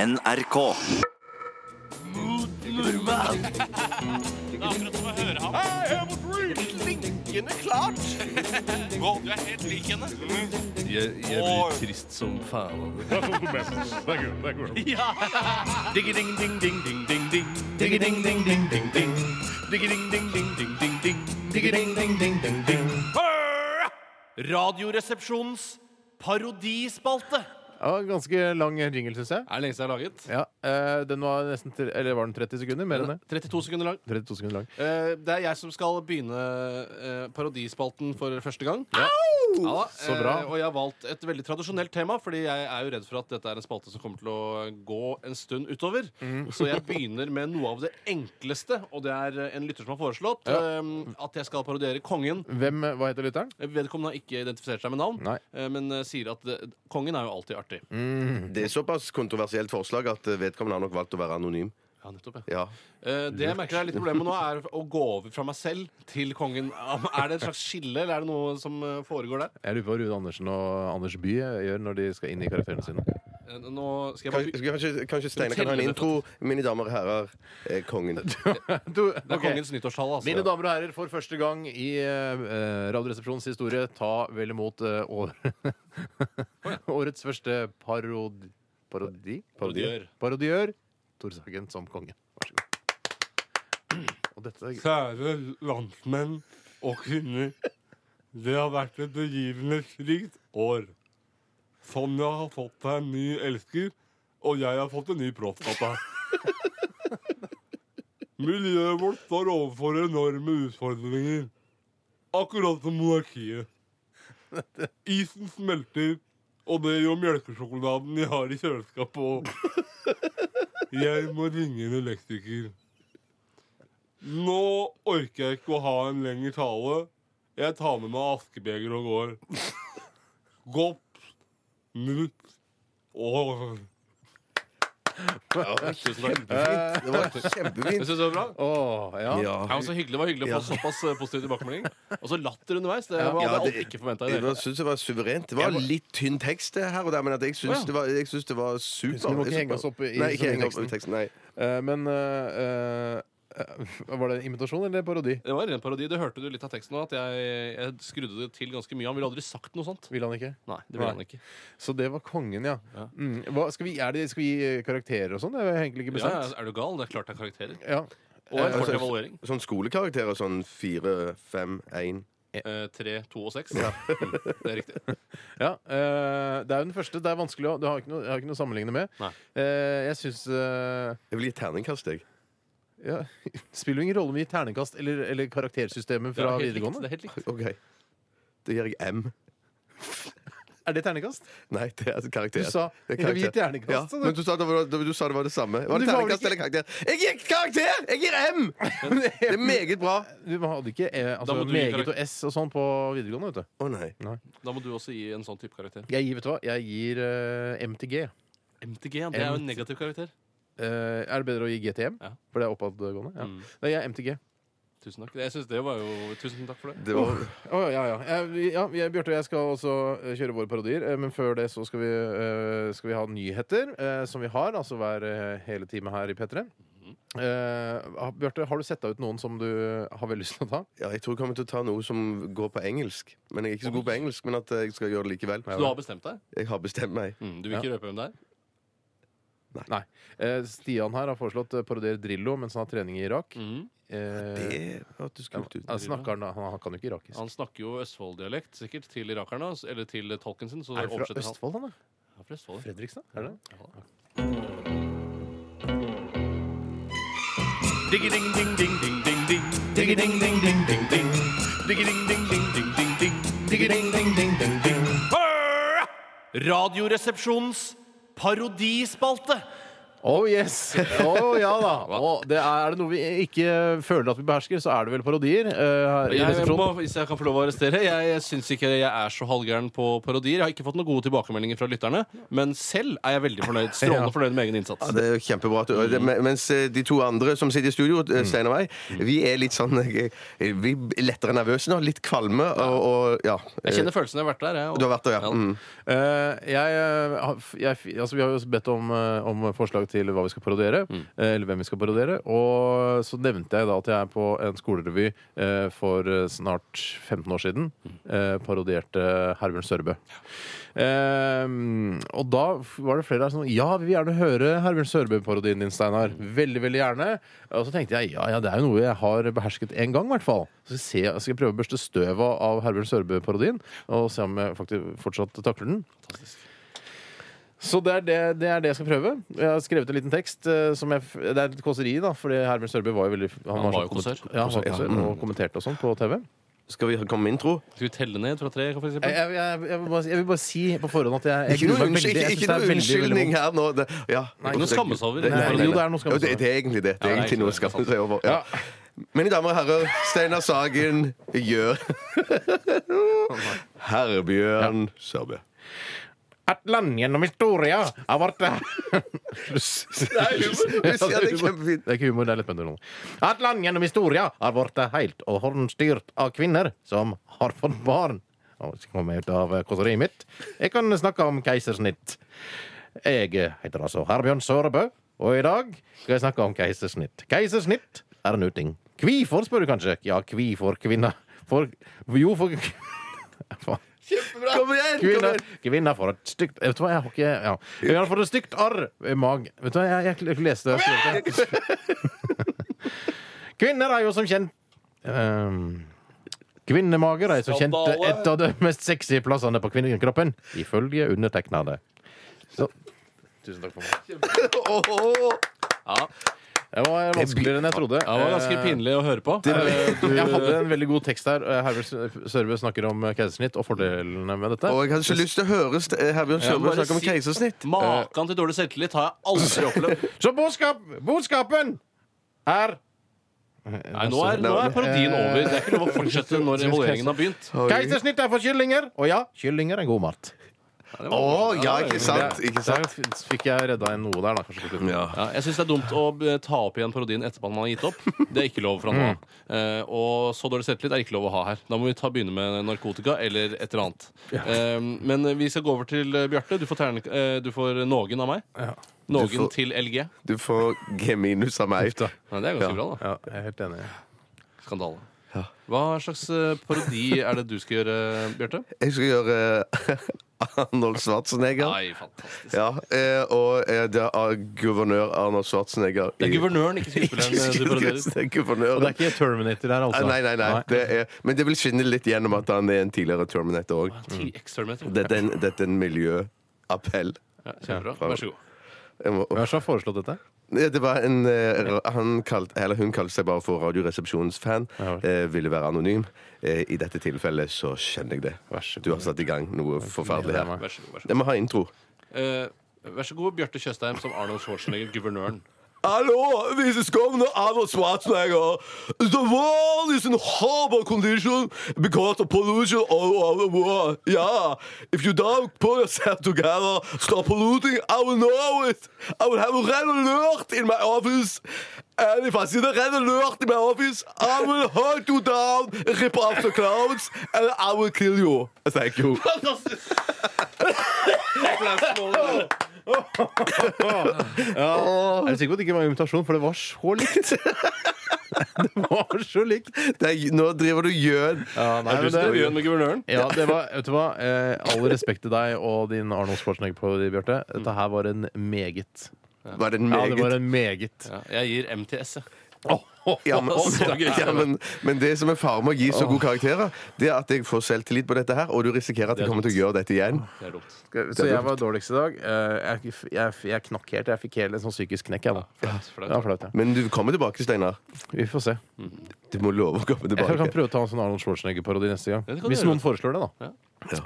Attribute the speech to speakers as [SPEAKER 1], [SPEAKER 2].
[SPEAKER 1] NRK.
[SPEAKER 2] Mm. Jeg, jeg blir trist som faen av det.
[SPEAKER 3] Radioresepsjonens parodispalte.
[SPEAKER 4] Ja, ganske lang jingle, syns jeg.
[SPEAKER 2] Er det lengste jeg har laget?
[SPEAKER 4] Ja, eh, den var nesten tre- Eller var den 30 sekunder? Mer enn det?
[SPEAKER 2] 32 sekunder lang.
[SPEAKER 4] 32 sekunder lang.
[SPEAKER 2] Eh, det er jeg som skal begynne eh, parodispalten for første gang. Ja da,
[SPEAKER 4] Så
[SPEAKER 2] eh,
[SPEAKER 4] bra.
[SPEAKER 2] og jeg har valgt et veldig tradisjonelt tema, Fordi jeg er jo redd for at dette er en spalte som kommer til å gå en stund utover. Så jeg begynner med noe av det enkleste, og det er eh, en lytter som har foreslått eh, at jeg skal parodiere kongen.
[SPEAKER 4] Hvem, eh, hva heter lytteren?
[SPEAKER 2] Vedkommende har ikke identifisert seg med navn,
[SPEAKER 4] Nei.
[SPEAKER 2] eh, men eh, sier at eh, kongen er jo alltid artig.
[SPEAKER 5] Det er såpass kontroversielt forslag at eh, vedkommende har nok valgt å være anonym.
[SPEAKER 2] Ja, nettopp, ja.
[SPEAKER 5] Ja.
[SPEAKER 2] Eh, det jeg merker er litt problemet nå, er å gå over fra meg selv til kongen. Er det et slags skille, eller er det noe som eh, foregår der?
[SPEAKER 4] Jeg lurer på hva Rune Andersen og Anders Bye gjør når de skal inn i karakterene sine.
[SPEAKER 2] Eh, Nå skal jeg bare
[SPEAKER 5] Kanskje, kanskje, kanskje Steinar kan ha en intro. Mine damer og herrer, eh, kongen.
[SPEAKER 4] Du,
[SPEAKER 2] Det er
[SPEAKER 4] ok.
[SPEAKER 2] kongens nyttårstall, altså.
[SPEAKER 4] Mine damer og herrer, for første gang i eh, Radioresepsjonens historie, ta vel imot eh, år... årets første parod... Parodi?
[SPEAKER 2] Parodiør.
[SPEAKER 4] Parodiør. Tore Sagen som konge. Vær så god. Og dette
[SPEAKER 6] Kjære landsmenn og kvinner. Det har vært et begivenhetsrikt år. Sonja har fått seg en ny elsker, og jeg har fått en ny prostata. Miljøet vårt står overfor enorme utfordringer. Akkurat som monarkiet. Isen smelter, og det gjør melkesjokoladen jeg har i kjøleskapet òg. Jeg må ringe en elektriker. Nå orker jeg ikke å ha en lengre tale. Jeg tar med meg askebeger og går. Godt nytt år.
[SPEAKER 5] Det var kjempefint.
[SPEAKER 2] Jeg synes det var bra.
[SPEAKER 4] Åh, ja.
[SPEAKER 5] Ja.
[SPEAKER 2] Ja, men så hyggelig, Det var hyggelig å få såpass eh, positiv tilbakemelding. Og så latter underveis. Det hadde jeg
[SPEAKER 5] Ja,
[SPEAKER 2] alltid
[SPEAKER 5] det-
[SPEAKER 2] ikke forventa.
[SPEAKER 5] Jeg var- syns det var suverent. Det var litt tynn tekst det her og der, men at jeg syns det var, jeg syns det var super.
[SPEAKER 4] Så vi må ikke
[SPEAKER 5] Jeg syns
[SPEAKER 4] henge
[SPEAKER 5] det
[SPEAKER 4] oss
[SPEAKER 5] var-
[SPEAKER 4] opp i-
[SPEAKER 5] Nei, ikke
[SPEAKER 4] i
[SPEAKER 5] henge opp i
[SPEAKER 4] teksten.
[SPEAKER 5] teksten. Nei.
[SPEAKER 4] Eh, men eh, eh, Var det en imitasjon eller en parodi?
[SPEAKER 2] Det var en ren parodi. Det hørte du litt av teksten nå. At jeg, jeg skrudde det til ganske mye. Han ville aldri sagt noe sånt.
[SPEAKER 4] Ville han ikke?
[SPEAKER 2] Nei, det ville
[SPEAKER 4] Nei.
[SPEAKER 2] han ikke.
[SPEAKER 4] Så det var kongen, ja.
[SPEAKER 2] Ja.
[SPEAKER 4] Mm. Hva, skal, vi, er det, skal vi gi karakterer og sånn? Det er egentlig ikke
[SPEAKER 2] Ja, ja,
[SPEAKER 4] bestemt.
[SPEAKER 2] er du gal? Det er klart det er karakterer.
[SPEAKER 4] Ja.
[SPEAKER 2] Og en kort
[SPEAKER 5] altså-
[SPEAKER 2] evaluering.
[SPEAKER 5] Sånn skolekarakterer sånn fire, fem, én.
[SPEAKER 2] Eh, Tre, to og seks. Mm, Det er riktig.
[SPEAKER 4] Ja, eh, det er jo den første. Det er vanskelig å Du har ikke noe, jeg har ikke noe å sammenligne med.
[SPEAKER 2] Nei.
[SPEAKER 4] Eh, jeg syns eh,
[SPEAKER 5] Jeg vil gi terningkast, jeg.
[SPEAKER 4] ja, Spiller jo ingen rolle om vi gir terningkast eller, eller karaktersystemet fra
[SPEAKER 2] det er helt Likt.
[SPEAKER 4] videregående.
[SPEAKER 2] Det er helt likt.
[SPEAKER 5] OK. Da gir jeg M.
[SPEAKER 4] Er det terningkast?
[SPEAKER 5] Nei, det er karakter.
[SPEAKER 4] Du sa,
[SPEAKER 5] Det er
[SPEAKER 4] «Jeg vil gi
[SPEAKER 5] karakter.
[SPEAKER 4] terningkast»,
[SPEAKER 5] Ja,
[SPEAKER 4] sa du.
[SPEAKER 5] men du sa, det var, du, sa det var det samme. Var det
[SPEAKER 4] du var vel
[SPEAKER 5] terningkast
[SPEAKER 4] ikke-
[SPEAKER 5] eller karakter? Jeg gir karakter! Jeg gir M! Det er meget bra.
[SPEAKER 4] Du hadde ikke eh, altså,
[SPEAKER 2] må du gi
[SPEAKER 4] meget
[SPEAKER 2] karakter.
[SPEAKER 4] og S og sånn på videregående, vet du.
[SPEAKER 5] Å nei.
[SPEAKER 2] Da må du også gi en sånn type karakter.
[SPEAKER 4] Jeg gir, vet du hva? Jeg gir eh, MTG.
[SPEAKER 2] MTG, ja, det er jo en
[SPEAKER 4] MT.
[SPEAKER 2] negativ karakter.
[SPEAKER 4] Eh, er det bedre å gi GTM?
[SPEAKER 2] Ja.
[SPEAKER 4] For det er oppadgående? Ja.
[SPEAKER 2] Mm.
[SPEAKER 4] Nei, jeg er MTG.
[SPEAKER 2] Tusen takk. Jeg synes det var jo Tusen takk for det.
[SPEAKER 5] Det var
[SPEAKER 4] Å, ja, ja. Jeg, vi- ja jeg, Bjarte og jeg skal også eh, kjøre våre parodier, eh, men før det så skal vi, eh, skal vi ha nyheter, eh, som vi har altså hver eh, hele time her i P3. Eh, ha- Bjarte, har du sett deg ut noen som du eh, har veldig lyst til å ta?
[SPEAKER 5] Ja, jeg tror jeg kommer til å ta noe som går på engelsk. Men jeg er ikke så god på engelsk, men at jeg skal gjøre det likevel.
[SPEAKER 2] Så du har bestemt deg?
[SPEAKER 5] Jeg har bestemt meg.
[SPEAKER 2] Mm, du vil ikke røpe hvem det er?
[SPEAKER 4] Nei. Eh, Stian her har foreslått å parodiere Drillo mens han har trening i Irak.
[SPEAKER 2] Mhm.
[SPEAKER 4] Eh,
[SPEAKER 5] Det hørtes
[SPEAKER 4] ja,
[SPEAKER 5] kult ut.
[SPEAKER 4] han snakker han, da? han han kan jo ikke irakisk.
[SPEAKER 2] Han snakker jo Østfold-dialekt sikkert til irakerne, altså, eller til tolken sin. Så
[SPEAKER 4] Er det fra
[SPEAKER 2] oversetter han.
[SPEAKER 4] Østfold, han da?
[SPEAKER 2] Ja, fra Østfold. ja.
[SPEAKER 4] Fredrikstad? Er det?
[SPEAKER 2] Ja, da.
[SPEAKER 3] Radioresepsjonens parodispalte.
[SPEAKER 4] Å, Oh yes! Oh, ja da. Og det er, er det noe vi ikke føler at vi behersker, så er det vel parodier. eh, her
[SPEAKER 2] Jeg,
[SPEAKER 4] i
[SPEAKER 2] må,
[SPEAKER 4] resepsjonen.
[SPEAKER 2] hvis jeg kan få lov å arrestere Jeg, jeg syns ikke jeg er så halvgæren på parodier. Jeg har ikke fått noen gode tilbakemeldinger fra lytterne, men selv er jeg veldig fornøyd. Strålende fornøyd med egen
[SPEAKER 5] Ja,
[SPEAKER 2] innsats.
[SPEAKER 5] det er jo kjempebra. at du- det-
[SPEAKER 4] Mm.
[SPEAKER 5] men- Mens eh, de to andre som sitter i studio, eh, Stein og meg, vi er litt sånn eh, Vi er lettere nervøse nå. Litt kvalme og, og ja.
[SPEAKER 2] Jeg kjenner følelsen jeg har vært der. Jeg, og-
[SPEAKER 5] Du har vært der, ja. Mm.
[SPEAKER 4] Eh, jeg, eh, har- jeg, altså, vi har jo bedt om, eh, om forslag til hva vi skal parodiere, eh, eller hvem vi skal parodiere. Og så nevnte jeg da at jeg på en skolerevy eh, for eh, snart 15 år siden eh, parodierte Herbjørn Sørbø. Eh, og da f- var det flere der som Ja, vi vil gjerne høre Herbjørn Sørbø-parodien din, Steinar. Veldig, veldig gjerne. Og så tenkte jeg ja, ja, det er jo noe jeg har behersket en gang, i hvert fall. Så skal jeg, se, skal jeg prøve å børste støvet av Herbjørn Sørbø-parodien, og se om jeg faktisk fortsatt takler den. Så det er det, det er det jeg skal prøve. Jeg har skrevet en liten tekst. eh, Som jeg, f- det er et kåseri, da, fordi Herman Sørbø var jo veldig
[SPEAKER 2] Han
[SPEAKER 4] var
[SPEAKER 2] var
[SPEAKER 4] sånn
[SPEAKER 2] jo
[SPEAKER 4] komment-
[SPEAKER 2] kåsør.
[SPEAKER 4] Ja, han var kåsør og kommenterte og sånn på TV.
[SPEAKER 5] Skal vi komme med intro?
[SPEAKER 2] Skal vi telle ned fra tre? For eksempel?
[SPEAKER 4] Jeg, jeg, jeg, jeg, vil, bare, jeg vil bare si på forhånd at jeg, jeg
[SPEAKER 5] Ikke
[SPEAKER 4] gruer
[SPEAKER 5] noe
[SPEAKER 4] meg veldig.
[SPEAKER 5] unnskyld- ikke-
[SPEAKER 4] Jeg synes
[SPEAKER 5] ikke
[SPEAKER 4] det
[SPEAKER 5] noe
[SPEAKER 4] er veldig, veldig
[SPEAKER 5] unnskyldning
[SPEAKER 4] vondt.
[SPEAKER 5] her nå. Det, ja.
[SPEAKER 2] ikke noe skammes over.
[SPEAKER 5] Det-
[SPEAKER 2] Nei,
[SPEAKER 5] nei, nei,
[SPEAKER 4] jo, det
[SPEAKER 5] nei.
[SPEAKER 4] er noe skammes
[SPEAKER 5] Jo, det-
[SPEAKER 4] over.
[SPEAKER 5] Det er egentlig det. Det er
[SPEAKER 2] Ja, det er
[SPEAKER 5] egentlig noe å
[SPEAKER 2] egentlig
[SPEAKER 5] skamme seg over. Ja. Mine damer og herrer, Steinar Sagen gjør Herbjørn Sørbø.
[SPEAKER 4] Et land gjennom historia har vært det
[SPEAKER 5] humor. Ja, det er kjempefint.
[SPEAKER 4] Det er ikke humor, det er litt underholdende. Et land gjennom historia har vært helt og hornstyrt av kvinner som har fått barn. Og så kommer jeg ut av kåseriet mitt. Jeg kan snakke om keisersnitt. Jeg heter altså Herbjørn Sørebø, og i dag skal jeg snakke om keisersnitt. Keisersnitt er en uting. Hvorfor, spør du kanskje? Ja, hvorfor kvinner? For, jo, for
[SPEAKER 5] Kom igjen! Kom
[SPEAKER 4] Kvinner,
[SPEAKER 5] igjen.
[SPEAKER 4] kvinner får et stygt Vet du hva, jeg har ikke ja. Kvinner får et stygt arr i mag... Vet du hva, jeg, jeg, jeg leste det. jeg skrev det. Kvinner er jo som kjent ehm, Kvinnemager er som kjent et av de mest sexy plassene på kvinnekroppen, ifølge undertegnede. Så Tusen takk for meg.
[SPEAKER 5] Åh, åh.
[SPEAKER 4] Det var vanskeligere enn jeg trodde.
[SPEAKER 2] Ja, det var ganske pinlig å høre på.
[SPEAKER 4] Eh, du- Jeg hadde en veldig god tekst her. Eh, Herved Sørve snakker om keisersnitt og fordelene med dette.
[SPEAKER 5] Og jeg hadde så lyst til å høre St- Herbjørn Sørbø
[SPEAKER 2] bare
[SPEAKER 5] snakke om
[SPEAKER 2] si-
[SPEAKER 5] keisersnitt.
[SPEAKER 2] Makan til dårlig selvtillit har jeg aldri opplevd.
[SPEAKER 4] Så budskap, budskapen er
[SPEAKER 2] Nei, nå er, nå er parodien over. Det er ikke lov å fortsette når
[SPEAKER 5] Eh,
[SPEAKER 2] evalueringen har begynt.
[SPEAKER 4] Keisersnitt er for kyllinger. Og ja, kyllinger er god mat.
[SPEAKER 5] Å ja, ikke sant? Ikke sant?
[SPEAKER 4] Der f- fikk jeg redda inn noe der, da. Kanskje på slutten.
[SPEAKER 5] Ja.
[SPEAKER 2] Ja, jeg syns det er dumt å eh, ta opp igjen parodien etterpå at man har gitt opp. Det er ikke lov fra
[SPEAKER 5] Mm.
[SPEAKER 2] nå av. Eh, og så dårlig selvtillit er ikke lov å ha her. Da må vi ta begynne med narkotika eller et eller annet. Eh, men vi skal gå over til eh, Bjarte. Du får, terne, eh, du får noen av meg. Noen
[SPEAKER 5] Du får-
[SPEAKER 2] til LG.
[SPEAKER 5] Du får G-minus av meg.
[SPEAKER 2] Nei, det er ganske bra, da.
[SPEAKER 4] Ja, jeg er helt enig.
[SPEAKER 2] Skandale. Hva slags eh, parodi er det du skal gjøre, Bjarte?
[SPEAKER 5] Jeg skal gjøre eh, Arnold Schwarzenegger.
[SPEAKER 2] Nei, fantastisk.
[SPEAKER 5] Ja, eh, og eh, det er guvernør Arnold Schwarzenegger.
[SPEAKER 2] Det er
[SPEAKER 5] i-
[SPEAKER 2] guvernøren, ikke skuespilleren. eh, du
[SPEAKER 5] Ikke-
[SPEAKER 2] parodierer.
[SPEAKER 4] Og
[SPEAKER 5] det er
[SPEAKER 4] det er
[SPEAKER 5] guvernøren.
[SPEAKER 4] ikke Terminator her, altså?
[SPEAKER 5] Ah, Nei, nei, nei. Det er, men det vil skinne litt gjennom at han er en tidligere Terminator òg.
[SPEAKER 2] Ti ekstermeter.
[SPEAKER 5] Dette er en, dette er en miljøappell.
[SPEAKER 2] Ja, kjempebra. Vær så god.
[SPEAKER 5] Jeg må,
[SPEAKER 4] Hvem er det som har foreslått dette?
[SPEAKER 5] Ja, det var en eh, ra- han kalt, eller Hun kalte seg bare for Radioresepsjonens fan.
[SPEAKER 4] Ja vel.
[SPEAKER 5] Eh, ville være anonym. Eh, I dette tilfellet så skjønner jeg det.
[SPEAKER 4] Vær så god.
[SPEAKER 5] Du har satt i gang noe forferdelig
[SPEAKER 4] Gleder
[SPEAKER 5] her.
[SPEAKER 2] Vær så god, vær så god.
[SPEAKER 5] Jeg må ha intro.
[SPEAKER 2] Eh, vær så god, Bjarte Tjøstheim som Arnold Schwarzenegger, guvernøren.
[SPEAKER 5] Hallo, this is Governor Arnold Schwarzenegger. The world is in horrible condition because of pollution all over the world. Yeah, if you don't pull yourself together, stop polluting, I will know it. I will have a red alert in my office. And if I see the red alert in my office, I will hunt you down, rip off the clouds, and I will kill you. Thank you.
[SPEAKER 4] Jeg er sikker på at det ikke var invitasjon, for det var så likt. det var så likt.
[SPEAKER 5] er nå driver du gjøn.
[SPEAKER 4] Ja, nei, men
[SPEAKER 2] Tusen takk, Jørgen, med guvernøren.
[SPEAKER 4] Ja, det var, vet du hva? Eh, all respekt til deg og din Arnold Schwarzenegger-parodi, Bjarte. Dette her var en meget.
[SPEAKER 5] Var det en
[SPEAKER 4] Ja, det var en meget.
[SPEAKER 2] Ja, jeg gir MTS, jeg.
[SPEAKER 5] Ja, men, ja, men, men det som er faren med å gi så gode karakterer, Det er at jeg får selvtillit på dette her, og du risikerer at jeg kommer til å gjøre dette igjen.
[SPEAKER 2] Det er dumt.
[SPEAKER 4] Så jeg var dårligst i dag. Eh, Jeg, jeg, jeg knakk helt. Jeg fikk helt en sånn psykisk knekk. Jeg, da.
[SPEAKER 2] Flaut, flaut.
[SPEAKER 4] Ja, flaut, ja.
[SPEAKER 5] Men du kommer tilbake, Steinar.
[SPEAKER 4] Vi får se.
[SPEAKER 5] Du må love å komme
[SPEAKER 4] Jeg kan
[SPEAKER 5] tilbake.
[SPEAKER 4] prøve å ta en sånn Arnold Schwarzenegger-parodi neste gang.
[SPEAKER 2] det kan du
[SPEAKER 4] Hvis
[SPEAKER 2] gjøre.
[SPEAKER 4] noen foreslår det, da.